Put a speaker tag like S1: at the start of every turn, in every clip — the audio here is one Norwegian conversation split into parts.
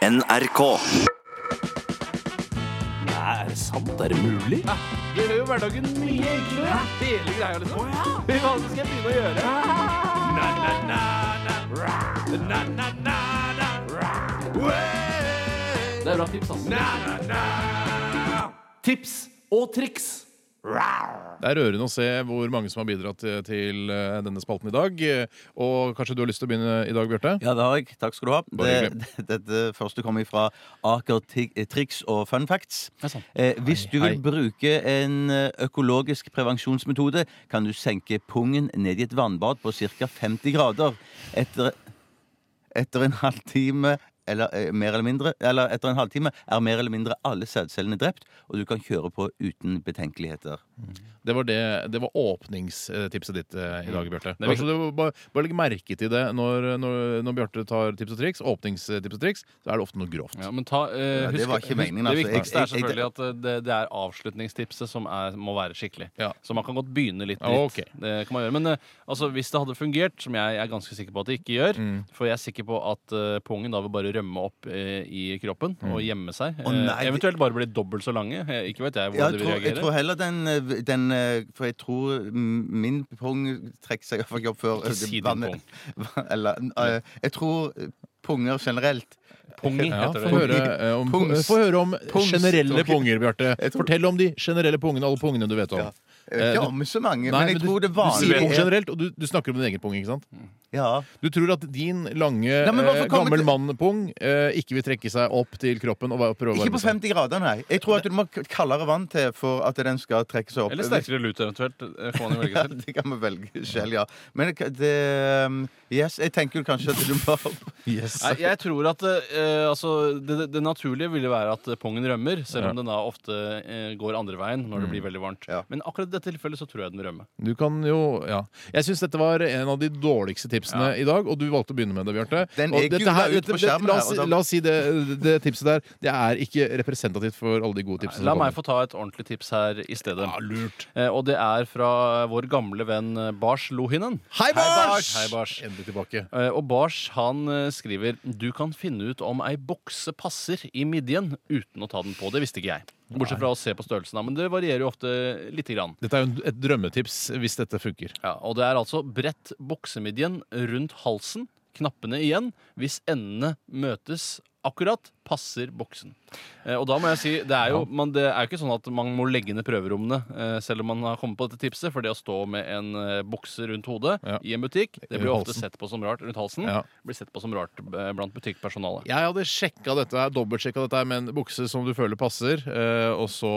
S1: NRK.
S2: Er det sant? Er det mulig?
S3: Det gjør jo hverdagen mye enklere. Hele greia, liksom. Fy faen, så skal jeg begynne å gjøre. Na, na, na, na. Na, na, na, na. Det er bra tips, ass. Na, na, na. Tips og triks.
S4: Det er rørende å se hvor mange som har bidratt eh, til eh, denne spalten i dag. Eh, Og kanskje du har lyst til å begynne i dag, Bjarte?
S5: Ja, det har jeg. Takk skal du ha. Det,
S4: Bare
S5: det, dette første kommer fra Aker Ti- Triks og Fun Facts. Eh, hvis du vil bruke en eh, økologisk prevensjonsmetode, kan du senke pungen ned i et vannbad på ca. 50 grader etter, etter en halvtime. Eller, eh, mer eller, mindre, eller etter en halvtime er mer eller mindre alle sædcellene drept, og du kan kjøre på uten betenkeligheter.
S4: Det var, det, det var åpningstipset ditt eh, i dag, Bjarte. Kanskje du bare, bare legg merke til det når, når, når Bjarte tar tips og triks, åpningstips og triks, så er det ofte noe grovt.
S6: Ja, men ta, eh,
S5: Ja, det
S6: husk-
S5: var ikke meningen,
S6: Det
S5: altså.
S6: viktigste er
S5: Jeg- jeg-
S6: selvfølgelig at eh, det, det er avslutningstipset som er, må være skikkelig.
S4: Ja.
S6: Så man kan godt begynne litt
S4: Ja,
S6: dritt. Det kan man gjøre. Men eh, altså, hvis det hadde fungert, som jeg er ganske sikker på at det ikke gjør
S5: Mm.
S6: For jeg er sikker på at eh, pungen da vil bare rømme opp eh, i kroppen og gjemme seg. Eh,
S5: Mm. nei, det-
S6: eventuelt bare bli dobbelt så lange. Eh, ikke vet jeg
S5: Ja,
S6: hvordan
S5: jeg,
S6: det vil
S5: tror, jeg
S6: reagere.
S5: tror heller den, eh, den eh, For jeg tror mm, min pung trekker seg iallfall ikke opp før
S6: Ikke
S5: eh,
S6: si din
S5: vannet- Eller, eh, jeg tror punger generelt
S6: Pungi
S4: Ja,
S6: heter
S4: få
S6: det.
S4: høre, eh, om,
S5: Pungs.
S4: få høre om
S5: Pungs.
S4: generelle
S5: Ok.
S4: punger, Bjarte.
S5: Jeg tror-
S4: Fortell om de generelle pungene, alle pungene du vet om.
S5: Ja. Jeg vet
S4: Eh,
S5: ikke
S4: du-
S5: om så mange,
S4: Nei,
S5: men jeg
S4: men du,
S5: tror det
S4: du sier pung
S5: vanlige er
S4: generelt, og du, du snakker om din egen pung. ikke sant?
S5: ja.
S4: Du tror at din lange,
S5: Nei, men hvorfor
S4: eh,
S5: kommer
S4: gammel
S5: det-
S4: mann-pung eh, ikke vil trekke seg opp til kroppen og va- prøve å
S5: Ikke
S4: varme
S5: på
S4: seg?
S5: 50 grader, nei. Jeg tror at du må ha kaldere vann til for at den skal trekke seg opp.
S6: Eller sterkere lut, eventuelt. eh, Kan man jo velge
S5: Ja,
S6: selv.
S5: det kan vi velge selv, ja. Men det, det um, Yes, jeg tenker jo kanskje at du må
S4: Yes.
S6: Nei, jeg tror at eh, altså, det, det- det naturlige ville være at eh, pungen rømmer, selv om den da ofte eh, går andre veien når
S4: Mm.
S6: det blir veldig varmt.
S5: Ja.
S6: Men akkurat i dette tilfellet så tror jeg den vil rømme.
S4: Du kan jo, ja. Jeg syns dette var en av de dårligste tipsene i dag, og du valgte å begynne med det, Bjarte.
S5: Den
S4: Og
S5: gikk jo
S4: dette
S5: da
S4: her-
S5: ut på
S4: dette-
S5: skjermen
S4: La oss,
S5: her, og da-
S4: la oss si det, det tipset der. Det er ikke representativt for alle de gode tipsene.
S6: La
S4: som
S6: meg få
S4: kommer.
S6: ta et ordentlig tips her i stedet.
S4: ja, lurt.
S6: Eh, og det er fra vår gamle venn eh, Bars Lohinen.
S4: Hei, Bars!
S6: Hei, Bars.
S4: Endelig tilbake.
S6: Eh, Og Bars han eh, skriver Du kan finne ut om ei bokse passer i midjen uten å ta den på. Det visste ikke jeg. Bortsett fra å se på størrelsen, da, men det varierer jo ofte lite grann.
S4: Dette er jo en- et drømmetips hvis dette funker.
S6: Ja, og det er altså bredt boksemidjen rundt halsen, knappene igjen. Hvis endene møtes akkurat, passer boksen. Eh, og da må jeg si, det er jo, man, det er jo ikke sånn at man må legge ned prøverommene eh, selv om man har kommet på dette tipset, for det å stå med en eh, bokse rundt hodet
S4: Ja.
S6: i en butikk, det blir
S4: Rundt
S6: ofte
S4: halsen.
S6: sett på som rart rundt halsen.
S4: Ja.
S6: Blir sett på som rart eh, blant butikkpersonalet.
S4: Jeg hadde sjekka dette, her, dobbeltsjekka dette her med en bukse som du føler passer, eh, og så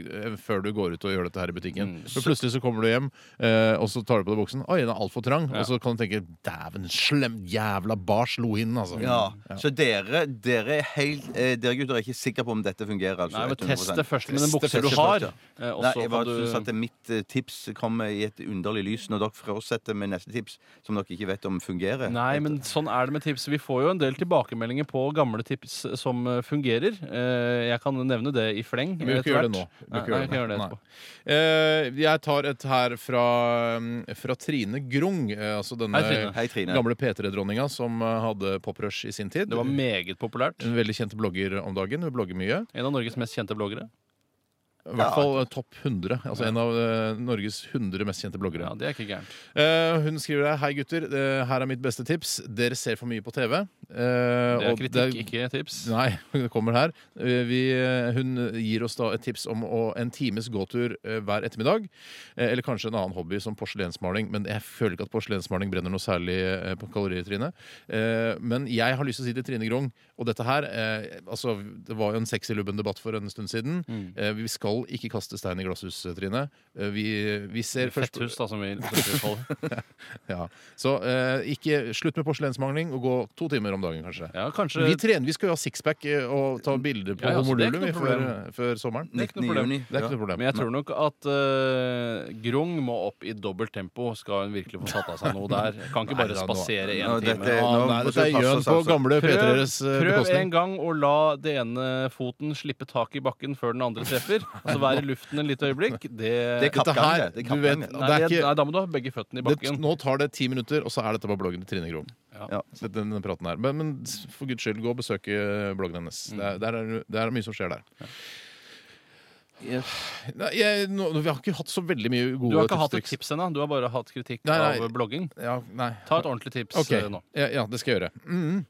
S4: eh, før du går ut og gjør dette her i butikken.
S6: Mm,
S4: For plutselig så kommer du hjem, eh, og så tar du på deg buksen. Oi, den er altfor trang. Og så kan du tenke dæven slem, jævla bars lohinnen, altså.
S5: Ja. Så dere, dere, er helt, eh, dere gutter er ikke sikre på om dette fungerer? Altså,
S6: Nei, men
S5: 100%.
S6: test det først med den
S4: Test det
S6: buksen du
S4: først,
S6: har.
S5: ja.
S6: eh, og
S5: Nei,
S6: så
S5: jeg
S6: kan
S5: bare
S6: du...
S5: synes at mitt eh, tips kommer i et underlig lys når dere fortsetter med neste tips, som dere ikke vet om fungerer.
S6: Nei, men sånn er det med tips. Vi får jo en del tilbakemeldinger på gamle tips som eh, fungerer. Eh, Jeg kan nevne det i fleng.
S4: Vi vil ikke
S6: etter
S4: gjøre det nå.
S6: hvert.
S4: Vi
S6: Nei,
S4: vil ikke
S6: nei, jeg kan
S4: gjøre
S6: gjøre
S4: det.
S6: det
S4: Nei.
S6: etterpå.
S4: Eh, Jeg tar et her fra, mm, fra Trine Grung, eh, altså denne
S6: Hei, Trine.
S5: Hei, Trine.
S4: gamle P3-dronninga som eh, hadde poprush i sin tid.
S6: Det var meget populært.
S4: En veldig kjent blogger om dagen. Hun blogger mye.
S6: En av Norges mest kjente bloggere.
S4: I hvert fall eh, topp 100. Altså en av eh, Norges 100 mest kjente bloggere.
S6: Ja, det er ikke gærent.
S4: Eh, hun skriver her Hei gutter, eh, her er mitt beste tips. Dere ser for mye på TV. Eh,
S6: Det er
S4: og
S6: kritikk, ikke tips.
S4: Nei, det kommer her. Eh, Vi, eh, hun gir oss da et tips om å, en times gåtur eh, hver ettermiddag. Eh, Eller kanskje en annen hobby som porselensmaling. Men jeg føler ikke at porselensmaling brenner noe særlig eh, på kalorier, Trine. Eh, Men jeg har lyst til å si til Trine Grung, og dette her eh, altså, Det var jo en sexylubben-debatt for en stund siden. Eh, Vi skal ikke kaste stein i glasshus, Trine. Eh, Vi, vi ser først
S6: Fetthus, da, som vi kaller
S4: ja. Så eh, ikke slutt med porselensmangling og gå to timer om dagen, kanskje.
S6: Ja, kanskje
S4: Vi trener, vi skal jo ha sixpack eh, og ta bilder på
S6: eh, Ja, ja, så det er
S4: homolulum
S6: ikke noe
S4: vi, før, eh, før sommeren.
S6: Det er ikke noe
S5: 19.
S6: problem.
S5: juni.
S4: Det er ikke noe problem.
S6: Men jeg tror nok at eh, Grung må opp i dobbelt tempo, skal hun virkelig få tatt av seg noe der. Kan ikke
S4: Nei,
S6: bare
S4: da, nå-
S6: spasere
S5: Nå,
S6: én
S5: dette-
S6: time.
S4: Ah,
S5: nå
S4: nei,
S5: må
S4: dette er
S5: vi passe
S4: gjøn
S5: oss,
S4: på
S5: altså.
S4: gamle P3-eres
S6: Prøv, prøv en
S4: bekostning.
S6: gang å la det ene foten slippe tak i bakken før den andre treffer. Altså være i luften et lite øyeblikk, det,
S5: Det er
S4: Dette
S5: kappgang,
S4: her,
S5: det. Det er
S4: du
S5: kappgang,
S4: vet,
S5: det.
S6: nei,
S4: det er
S6: nei,
S4: ikke
S6: da må du ha begge føttene i
S4: det,
S6: bakken.
S4: Nå tar det ti minutter, og så er dette på bloggen til Trine Grom.
S5: Ja.
S4: Så dette- denne praten her. Men, men for guds skyld, gå og besøke bloggen hennes.
S6: Mm.
S4: Det, er, der er, det er mye som skjer der. Nei, jeg, nå, vi har ikke hatt så veldig mye gode
S6: Du har ikke hatt et
S4: tipstriks.
S6: tips ennå. Du har bare hatt kritikk
S4: Nei, nei.
S6: av blogging.
S4: Ja, nei.
S6: Ta et ordentlig tips
S4: Ok,
S6: eh, nå.
S4: ja, ja, det skal jeg gjøre. Mm.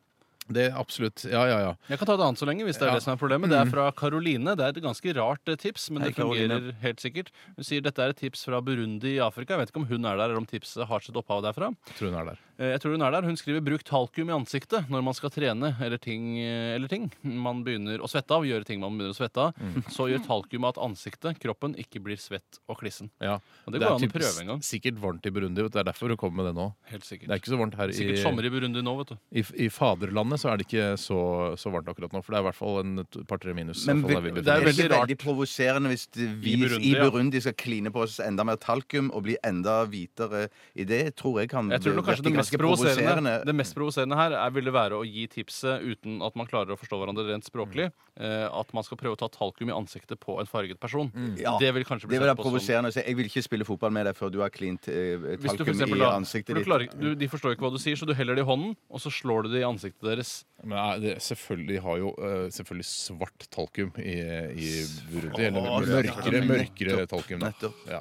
S4: Det er absolutt. Ja, ja, ja.
S6: Jeg kan ta et annet så lenge, hvis det er
S4: Ja. Mm.
S6: det som er problemet. Det er fra Karoline. Det er et ganske rart eh, tips, men
S5: Hei,
S6: det fungerer
S5: Caroline.
S6: helt sikkert. Hun sier dette er et tips fra Burundi i Afrika. Jeg vet ikke om hun er der, eller om tipset har sitt opphav derfra.
S4: Jeg tror hun er der.
S6: Eh, Jeg tror hun er der. Hun skriver 'bruk talkum i ansiktet' når man skal trene eller ting, eh, eller ting man begynner å svette av. Gjøre ting man begynner å svette av. Så gjør talkum at ansiktet, kroppen, ikke blir svett og klissen.
S4: Ja.
S6: Og det går an å
S4: typ-
S6: prøve en gang.
S4: Sikkert varmt i Burundi. Vet du. Det er derfor hun kommer med det nå.
S6: Helt sikkert.
S4: Det er ikke så varmt her i, Mm.
S6: Sikkert sommer i Burundi nå, vet du.
S4: i, i faderlandet. Så er det ikke så, så varmt akkurat nå, for det er i hvert fall en et par-tre minus. i
S5: Men
S4: hvert fall der vi
S5: det
S6: det
S5: er
S6: er
S4: befinner oss.
S5: veldig,
S6: veldig rart.
S5: veldig provoserende hvis det- vi
S6: I
S5: i
S6: Burundi,
S5: Burundi,
S6: ja.
S5: skal kline på oss enda mer talkum og bli enda hvitere i det, tror jeg kan
S6: Jeg tror nok
S5: virke
S6: kanskje det mest
S5: ganske
S6: provoserende, det mest provoserende her er, ville være å gi tipset uten at man klarer å forstå hverandre rent språklig. Eh, at man skal prøve å ta talkum i ansiktet på en farget person.
S5: Ja,
S6: Det vil kanskje bli
S5: Mm. Det vil
S6: sett
S5: være
S6: på som
S5: provoserende å si jeg vil ikke spille fotball med deg før du har klint eh,
S6: Hvis du for
S5: talkum
S6: eksempel
S5: i
S6: da,
S5: ansiktet
S6: for du
S5: ditt.
S6: klarer, ikke- du, de forstår ikke hva du sier, så du heller det i hånden, og så slår du det i ansiktet deres.
S4: Men ja, det, selvfølgelig har jo eh, selvfølgelig svart talkum i, i Burundi. Eller
S5: Svart
S4: mørkere,
S5: talkum.
S4: mørkere talkum. Da.
S5: nettopp.
S4: Ja.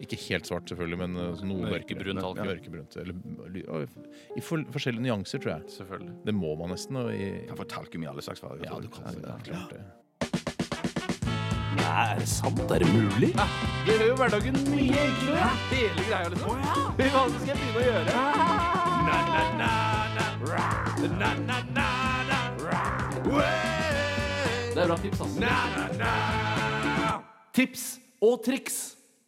S4: Ikke helt svart, selvfølgelig, men eh, noe
S6: Mørkebrun talkum.
S4: Ja, Mørkebrunt. Eller ly- ja, i for, forskjellige nyanser, tror jeg.
S6: Selvfølgelig.
S4: Det må man nesten. Og i,
S5: Du kan få talkum i alle slags farger.
S4: ja,
S5: tror
S4: du
S5: jeg.
S4: kan det. er Klart det.
S2: Nei, er det sant? Er det mulig?
S3: Det gjør jo hverdagen mye enklere. Hele greia, liksom. Men Hva skal jeg begynne å gjøre? Na-na-na-na. Na-na-na-na. Way.
S6: Det er bra tips,
S3: altså.
S6: ass.
S3: Na-na-na. Tips og triks.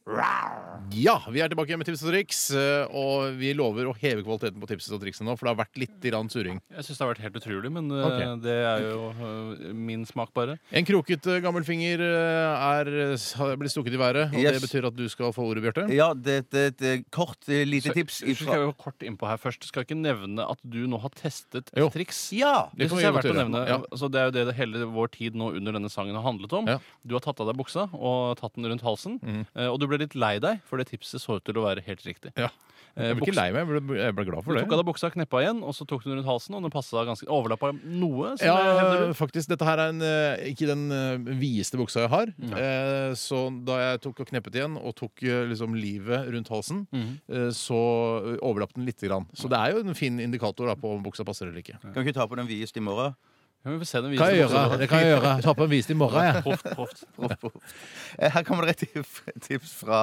S4: Ja, vi er tilbake med tips og triks. eh, Og vi lover å heve kvaliteten på tipsene og triksene nå, for det har vært litt grann surring.
S6: Jeg syns det har vært helt utrolig, men eh,
S4: Ok.
S6: det er jo eh, min smak bare.
S4: En krokete gammelfinger eh, er, har blitt stukket i været, og
S5: Yes.
S4: det betyr at du skal få ordet, Bjarte.
S5: Ja, det det er et eh, kort eh, lite tips
S6: Så skal
S5: ifra
S6: jeg jo kort innpå her først. Skal jeg ikke nevne at du nå har testet
S4: Jo.
S6: et triks.
S5: Ja!
S6: Det,
S4: Det kan
S6: synes
S4: vi
S6: jeg er
S4: godt
S6: verdt å
S4: gjøre.
S6: nevne.
S4: Ja.
S6: Altså, det er jo det, det hele vår tid nå under denne sangen har handlet om.
S4: Ja. Mm.
S6: Du har tatt av deg buksa og tatt den rundt halsen, eh, og du ble litt lei deg, for det tipset så ut til å være helt riktig.
S4: Ja.
S6: Eh,
S4: Jeg ble
S6: buks-
S4: ikke lei meg, jeg ble, jeg ble glad
S6: Du
S4: for det.
S6: tok av deg buksa, kneppa igjen, og så tok du den rundt halsen, og den passet ganske overlappa noe. som jeg hevder
S4: Ja,
S6: du.
S4: faktisk. Dette her er en, eh, ikke den eh, videste buksa jeg har. Eh, Så da jeg tok og kneppet igjen og tok eh, liksom livet rundt halsen, eh, så overlapp den lite grann. Så det er jo en fin indikator da, på om buksa passer eller ikke.
S5: Kan ikke du ta på den videst i morgen?
S6: Ja, vi får se den
S4: Kan jeg
S6: videre.
S4: gjøre? Det kan jeg gjøre. Ta på en vist i morgen, jeg.
S6: Proft, proft.
S5: Eh, Her kommer det et tip- tips fra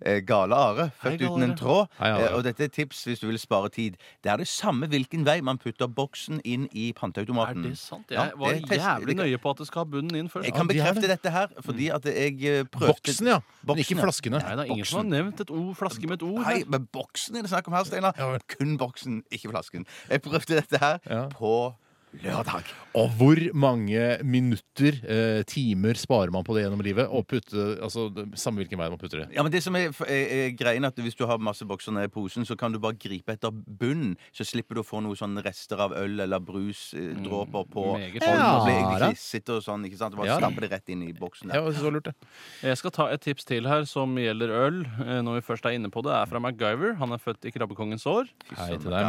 S5: eh, Gale Are, født
S6: Gale
S5: uten
S6: Are.
S5: en tråd.
S4: Hei, Are.
S5: Eh, Og dette er tips hvis du vil spare tid. Det er det samme hvilken vei man putter boksen inn i
S6: Er
S5: panteautomaten.
S6: det sant?
S5: Ja,
S6: Jeg var
S5: det test-
S6: jævlig
S5: det-
S6: nøye på at det skal ha bunnen inn først.
S5: Jeg kan
S4: Ja, de er
S5: bekrefte
S4: det.
S5: dette her, fordi at jeg eh, prøvde
S4: Mm. Boksen, ja. Men
S5: Boksen,
S4: ikke
S5: ja.
S4: flaskene.
S6: Nei, det er ingen som har nevnt et ord, flaske med et ord.
S5: Nei,
S6: her.
S5: men boksen er det snakk om her, Steinar. Kun boksen, ikke flasken. Jeg prøvde dette her
S4: Ja.
S5: på lørdag.
S4: Og hvor mange minutter, eh, timer, sparer man på det gjennom livet? Og putte, altså, det- Samme hvilken vei man putter det.
S5: Ja, men det som er, er, er greien er at Hvis du har masse bokser nede i posen, så kan du bare gripe etter bunnen. Så slipper du å få noen sånne rester av øl eller brusdråper på
S6: meget
S5: hånden.
S4: smart.
S5: og bli
S4: Mm. Ja, da.
S5: klissete og sånn. ikke sant? Du bare
S4: Ja, da.
S5: stamper det rett inn i boksen.
S4: Ja,
S5: Der.
S4: jeg synes det var lurt, det.
S6: Jeg skal ta et tips til her som gjelder øl. eh, Når vi først er inne på det, er fra MacGyver. Han er født i Krabbekongens år.
S4: Hei til deg,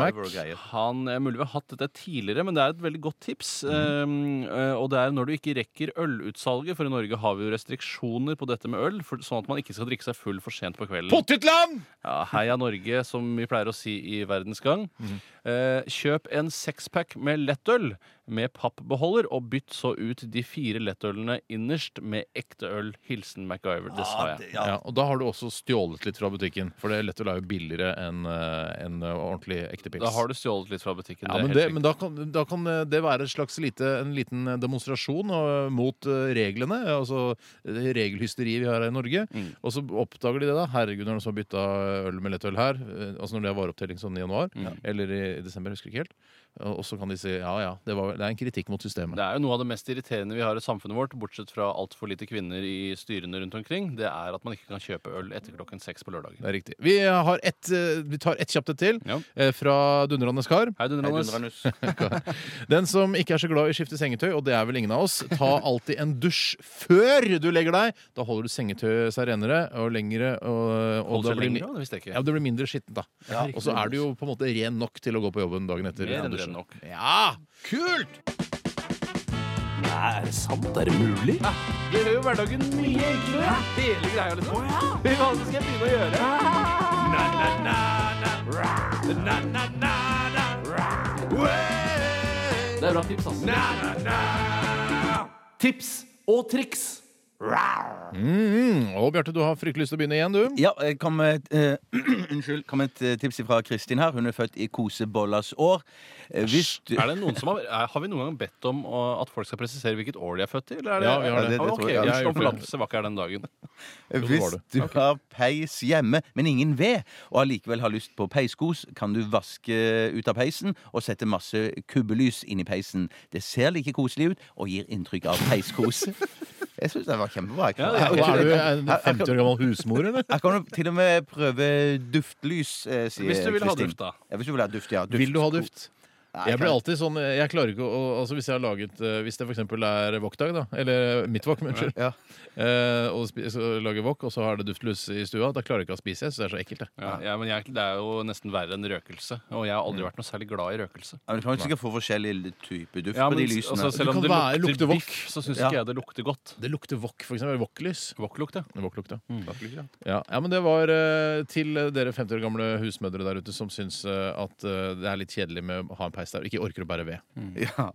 S4: Mac.
S6: Han er mulig vi har hatt dette tidligere, men det er et veldig godt tips.
S4: Mm.
S6: Eh, eh, og det er når du ikke rekker ølutsalget, for i Norge har vi jo restriksjoner på dette med øl, for, sånn at man ikke skal drikke seg full for sent på kvelden.
S4: Pottitland!
S6: Ja, heia Norge, som vi pleier å si i Verdens Gang.
S4: Mm.
S6: Eh, kjøp en sexpack med lettøl med pappbeholder, og bytt så ut de fire lettølene innerst med ekte øl. Hilsen MacGyver.
S4: Ah,
S6: Det sa jeg.
S5: Ja.
S4: Ja, og da har du også stjålet litt fra butikken. For det Lettøl er jo billigere enn eh, enn ordentlig ekte pils.
S6: Da har du stjålet litt fra butikken.
S4: ja,
S6: det er
S4: men
S6: helt
S4: det,
S6: riktig.
S4: men da, kan, da kan eh, det være et slags lite, en liten demonstrasjon eh, mot eh, reglene. eh, Altså eh, regelhysteriet vi har her i Norge.
S6: Mm.
S4: Og så oppdager de det, da. Herregud, når de så har bytta øl med lettøl her. eh, Altså når det er vareopptelling sånn i januar. Eller i, i desember, jeg husker ikke helt. Og så kan de si ja ja, det, var, det er en kritikk mot systemet.
S6: Det er jo noe av det mest irriterende vi har i samfunnet vårt, bortsett fra altfor lite kvinner i styrene rundt omkring, det er at man ikke kan kjøpe øl etter klokken seks på lørdagen.
S4: Det er riktig. Vi, har ett, eh, vi tar ett kjapt et til,
S6: Ja.
S4: eh, fra Dundrandes kar.
S6: Hei, Dundrandes.
S5: Dundranus.
S4: Den som ikke er så glad i å skifte sengetøy, og det er vel ingen av oss, ta alltid en dusj før du legger deg. Da holder du sengetøyet seg renere og lengre. Og, og
S6: Holdt
S4: da
S6: seg
S4: blir,
S6: lenger, da, det visste jeg ikke.
S4: ja, det blir mindre skittent, da. og så er du jo på en måte ren nok til å gå på jobben dagen etter.
S6: Mer enn
S4: dusjen.
S6: ren nok.
S4: Ja! Kult!
S2: Er det sant? Er det mulig?
S3: Det gjør jo hverdagen mye enklere. Hele greia, liksom.
S6: sånn.
S3: Men hva skal jeg begynne å gjøre? Na, na, na, na. Na, na, na, na. Way.
S6: Det er bra tips, ass.
S3: Na, na, na. Tips og triks.
S4: Mm, og Bjarte, du har fryktelig lyst til å begynne igjen, du.
S5: Ja, jeg kom med et, eh, unnskyld, kom med et eh, tips fra Kristin her. Hun er født i kosebollas år. Eh, hvis du,
S6: Er det noen som har, er- har vi noen gang bedt om å- at folk skal presisere hvilket år de er født i? Eller er det,
S4: Ja, vi har
S5: det.
S6: Ah,
S5: Det
S6: ok,
S5: tror
S6: jeg
S5: jeg.
S4: Jeg har gjort det.
S6: forlatelse var ikke her den dagen.
S5: hvis
S4: det.
S5: du har peis hjemme, men ingen ved, og allikevel har lyst på peiskos, kan du vaske ut av peisen og sette masse kubbelys inn i peisen. Det ser like koselig ut og gir inntrykk av peiskos. Jeg syns det var kjempebra. Jeg kan-
S6: Ja,
S4: Hva er du,
S5: jeg-
S4: en
S5: jeg-
S4: 50 år gammel husmor, eller?
S5: Jeg kan jo til og med prøve duftlys, eh, sier
S6: Hvis du vil ha
S5: Kristin.
S6: duft, da.
S5: Ja, hvis du vil ha duft, ja. Duft.
S4: Vil du ha duft?
S5: Nei,
S4: Jeg blir
S5: kan-
S4: alltid sånn Jeg klarer ikke å altså Hvis jeg har laget eh, Hvis det for eksempel er wok-dag, da, eller mitt wok, unnskyld,
S5: Ja.
S4: eh, og spi- så lager wok, og så har det duftlys i stua, da klarer jeg ikke å spise, jeg syns det er så ekkelt. Det.
S6: Ja, Mm. ja, men jeg, Det er jo nesten verre enn røkelse. Og jeg har aldri vært noe særlig glad i røkelse.
S5: Ja, men Du kan jo sikkert få forskjellig type duft
S6: Ja,
S5: på
S6: men,
S5: de lysene.
S6: altså, selv
S4: Du
S6: om
S4: kan
S6: det
S4: være- lukte
S6: lukter
S4: wok.
S6: biff, så syns
S5: Ja.
S6: ikke jeg det lukter godt.
S4: det lukter wok, for eksempel. Wok-lys.
S6: Wok-lukt, ja.
S4: Wok-lukt, ja. Ja, ja, men det var eh, til dere 50 år gamle husmødre der ute som syns eh, at eh, det er litt kjedelig med å ha en peis der og ikke orker å bære ved.
S5: ja.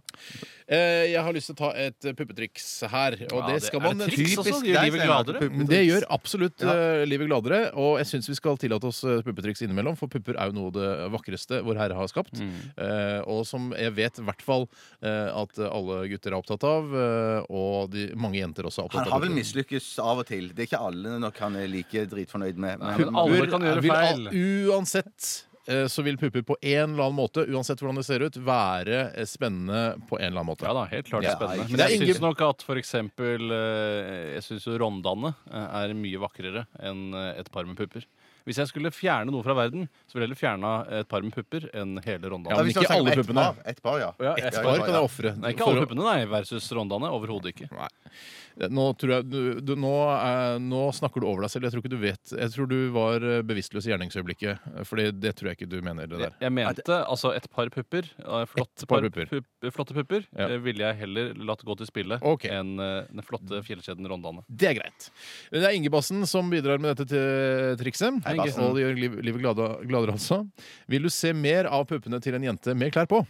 S4: Eh, jeg har lyst til å ta et eh, puppetriks her, og
S6: Ja,
S4: det
S6: det-
S4: skal
S6: er det
S4: man
S6: triks? Triks også, gjør
S5: deg,
S6: livet
S5: Steinar,
S6: gladere.
S5: puppetriks.
S4: Det gjør absolutt eh, livet gladere, og jeg syns vi skal tillate oss eh, puppetriks innimellom, for pupper er jo noe av det vakreste vår herre har skapt.
S6: Mm.
S4: Eh, og som jeg vet i hvert fall eh, at alle gutter er opptatt av, eh, og de, mange jenter også er opptatt
S5: Han har
S4: av.
S5: vel
S4: pupper.
S5: mislykkes av og til. Det er ikke alle nok han er like dritfornøyd med. Men,
S6: men alle-
S4: Pupper
S6: kan gjøre
S4: vil
S6: feil.
S4: al- Uansett eh, så vil pupper på en eller annen måte, uansett hvordan det ser ut, være eh, spennende på en eller annen måte.
S6: Ja da, helt klart
S5: Ja,
S6: spennende.
S5: ikke
S6: Men
S4: sant?
S6: jeg
S4: Det er
S6: syns
S4: ingen-
S6: nok at for eksempel eh, Jeg syns jo Rondane eh, er mye vakrere enn eh, et par med pupper. Hvis jeg skulle fjerne noe fra verden, så ville jeg heller fjerna et par med pupper enn hele Rondane.
S4: Ja, men
S5: hvis han
S4: ikke
S5: snakker om
S4: alle
S5: ett
S4: puppene.
S5: par- Ett par, ja.
S6: Ja, ett
S5: Ja,
S4: Et
S5: ja,
S4: par
S5: ja.
S4: kan jeg ofre.
S6: Nei, ikke
S4: for
S6: alle
S4: å-
S6: puppene, nei, versus Rondane. Overhodet ikke.
S4: Eh, Nå, tror jeg, du, du, nå, eh, nå snakker du over deg selv. Jeg tror ikke du vet Jeg tror du var eh, bevisstløs i gjerningsøyeblikket. Fordi det tror jeg ikke du mener. det der
S6: Jeg mente altså et par pupper. eh, Flotte
S4: Et par
S6: par
S4: pupper.
S6: pup- flotte pupper
S4: Ja.
S6: eh, ville jeg heller latt gå til spille
S4: Ok.
S6: enn eh, den flotte fjellkjeden Rondane.
S4: Det er greit. Det er Ingebassen som bidrar med dette til trikset.
S5: Hei, Bassen.
S4: og det gjør liv- livet glada, gladere, altså. Vil du se mer av puppene til en jente med klær på?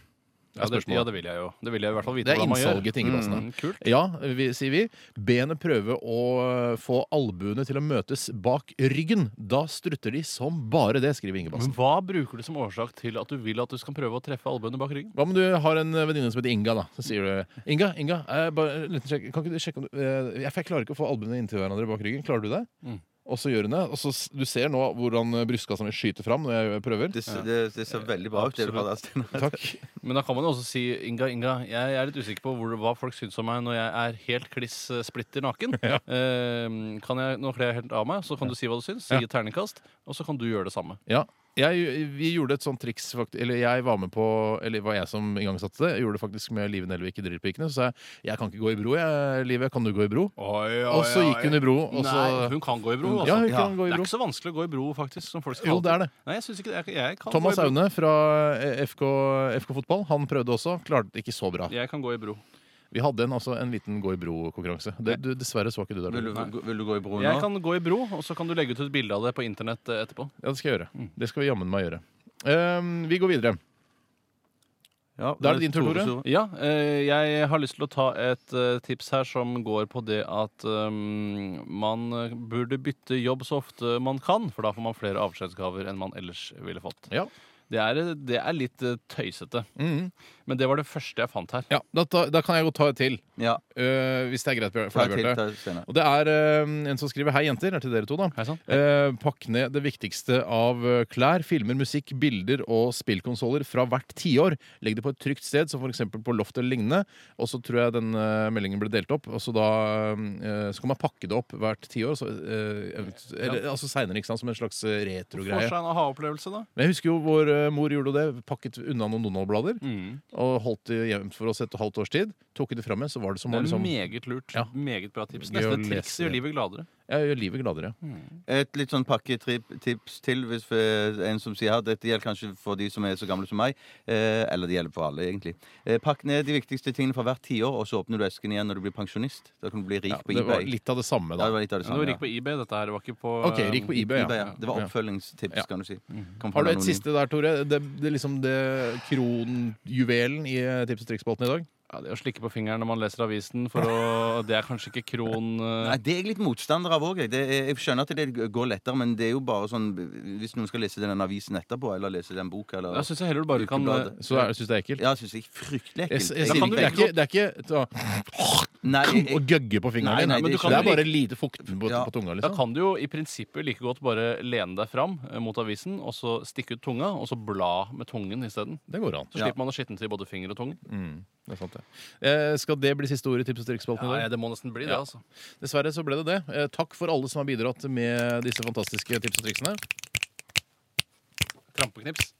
S6: Ja, det,
S4: spørsmålet.
S6: ja, det vil jeg jo. Det vil jeg i hvert fall vite
S4: Det er
S6: hvordan man gjør.
S4: innsalget til Ingebassen. da.
S6: Mm, kult.
S4: Ja, vi, sier vi. Benet prøver å eh, få albuene til å møtes bak ryggen. Da strutter de som bare det, skriver
S6: Men
S4: Ingebassen.
S6: hva bruker du som årsak til at du vil at du skal prøve å treffe albuene bak ryggen?
S4: Hva om du har en eh, venninne som heter Inga, da? Så sier du Inga, Inga, eh, bare en liten sjekk. Kan ikke du sjekke om du eh, jeg, for jeg klarer ikke å få albuene inntil hverandre bak ryggen. Klarer du det?
S6: Mm.
S4: Og så gjør hun det. Og så, s- du ser nå hvordan eh, brystkassa mi skyter fram når jeg prøver.
S5: Det, ser- det, det ser veldig bra ut, det du har der, Steinar.
S4: Takk.
S6: Men da kan man jo også si Inga, Inga, jeg er litt usikker på hvor, hva folk syns om meg når jeg er helt kliss eh, splitter naken. Eh, kan jeg, nå kler jeg helt av meg, så kan du si hva du syns.
S4: Ja.
S6: Gi et terningkast, og så kan du gjøre det samme.
S4: Ja. Jeg, vi gjorde et sånt triks, fakt- eller jeg var med på Eller var jeg som igangsatte det. Jeg gjorde det faktisk med Live Nelvik i Drillpikene. Så sa jeg jeg kan ikke gå i bro, jeg, Live. Kan du gå i bro? Og så gikk hun i bro, og så
S6: Nei, hun kan gå i bro. Altså.
S4: Ja, hun
S5: Ja.
S4: kan gå
S6: Det
S4: i
S6: er
S4: bro.
S6: ikke så vanskelig å gå i bro, faktisk. Som folk skal
S4: Jo, det er det.
S6: Nei, jeg synes ikke det. Jeg, jeg kan
S4: Thomas
S6: gå i bro.
S4: Aune fra eh, FK, FK Fotball, han prøvde også. Klarte det ikke så bra.
S6: Jeg kan gå i bro.
S4: Vi hadde en, altså, en liten gå i bro-konkurranse. Det- du- Dessverre så ikke du der.
S5: Vil
S4: Du.
S5: du, vil du gå i bro nå?
S6: Jeg kan gå i bro, og så kan du legge ut et bilde av det på internett eh, etterpå.
S4: Ja, det skal jeg
S5: Mm.
S4: gjøre. Det skal vi jammen meg gjøre. Ehm, vi går videre.
S5: Ja,
S4: Da er det din tur, Tore.
S6: Ja, eh, jeg har lyst til å ta et eh, tips her som går på det at um, man eh, burde bytte jobb så ofte man kan, for da får man flere avskjedsgaver enn man ellers ville fått.
S4: Ja.
S6: Det er, det er litt eh, tøysete,
S4: Mhm.
S6: men det var det første jeg fant her.
S4: Ja, da, ta- da kan jeg godt ta et til.
S5: Ja,
S4: Eh, hvis det er greit for
S5: ta
S4: deg,
S5: til,
S4: Bjarte.
S5: ta senere.
S4: Og det er eh, en som skriver Hei, jenter. Det er til dere to, da.
S6: Hei sann.
S4: Eh, pakk ned det viktigste av eh, klær, filmer, musikk, bilder og spillkonsoller fra hvert tiår. Legg det på et trygt sted, som f.eks. på loft eller lignende. Og så tror jeg den eh, meldingen ble delt opp. Og så da eh, Så kan man pakke det opp hvert tiår. så, eh, event- eller, Altså seinere, ikke sant. Som en slags
S6: Får
S4: eh, retrogreie.
S6: seg en aha-opplevelse, da.
S4: Men jeg husker jo vår eh, mor gjorde det. Pakket unna noen Donald-blader. Og holdt det gjemt for oss et halvt års tid. Tok det fram igjen, så var det som
S6: Det
S4: å
S6: er
S4: liksom,
S6: meget lurt.
S4: Ja.
S6: Meget bra tips.
S4: Gøy å
S6: Neste triks
S4: lese
S6: gjør
S4: det.
S6: livet gladere.
S4: ja, gjør livet gladere.
S5: Et litt sånn pakketips til hvis eh, en som sier her Dette gjelder kanskje for de som er så gamle som meg. Eh, eller det gjelder for alle, egentlig. Eh, pakk ned de viktigste tingene fra hvert tiår, og så åpner du esken igjen når du blir pensjonist. Da kan du bli rik
S4: Ja,
S5: på
S4: det var
S5: eBay.
S4: litt av det samme,
S5: Ja,
S4: da.
S5: det var litt av
S6: Men det
S5: det samme.
S6: var rik på eBay, dette her. Det var ikke på um,
S4: Ok, rik på eBay,
S5: ja.
S4: ja.
S5: eBay, ja. Det var
S4: Ja.
S5: oppfølgingstips,
S4: Ja.
S5: kan du si. Kom fra
S4: Har du et
S5: en anonym.
S4: siste der, Tore? Det, det er liksom det kronjuvelen i eh, tips- og triksbolten i dag?
S6: Ja, det å slikke på fingeren når man leser avisen for å Det er kanskje ikke kron... uh,
S5: Nei, Det er jeg litt motstander av òg. Jeg. Det er- jeg skjønner at det går lettere, men det er jo bare sånn Hvis noen skal lese den avisen etterpå, eller lese den boka, eller
S6: Jeg syns jeg heller du bare kan eh,
S5: Ukebladet.
S4: Så jeg syns det er ekkelt.
S5: Ja, syns jeg er fryktelig
S4: Jeg,
S5: ekkelt.
S4: s- jeg,
S5: Jeg
S4: sier
S6: kan
S4: ikke,
S6: du
S4: det, er
S6: like
S4: ikke, det er ikke så,
S5: Nei, jeg,
S4: å
S5: jeg,
S4: gøgge på fingeren
S5: Nei,
S4: din.
S5: nei, det
S4: det,
S5: skjønner
S4: er
S5: jeg.
S4: bare lite fukt på,
S5: Ja.
S4: på tunga.
S6: Da
S4: liksom
S6: kan du jo i prinsippet like godt bare lene deg fram eh, mot avisen, og så stikke ut tunga, og så bla med tungen isteden.
S4: Det går an. Mm,
S6: Så
S5: Ja.
S6: slipper man å skitne til både finger og tunge.
S4: Det er sant, det. Eh, skal det bli siste ord i tips- og triksbolten
S6: Ja,
S4: i dag?
S6: ja, det må nesten bli det,
S4: Ja.
S6: altså.
S4: Dessverre så ble det det. Eh, Takk for alle som har bidratt med disse fantastiske tips og triksene.
S6: Trampeknips.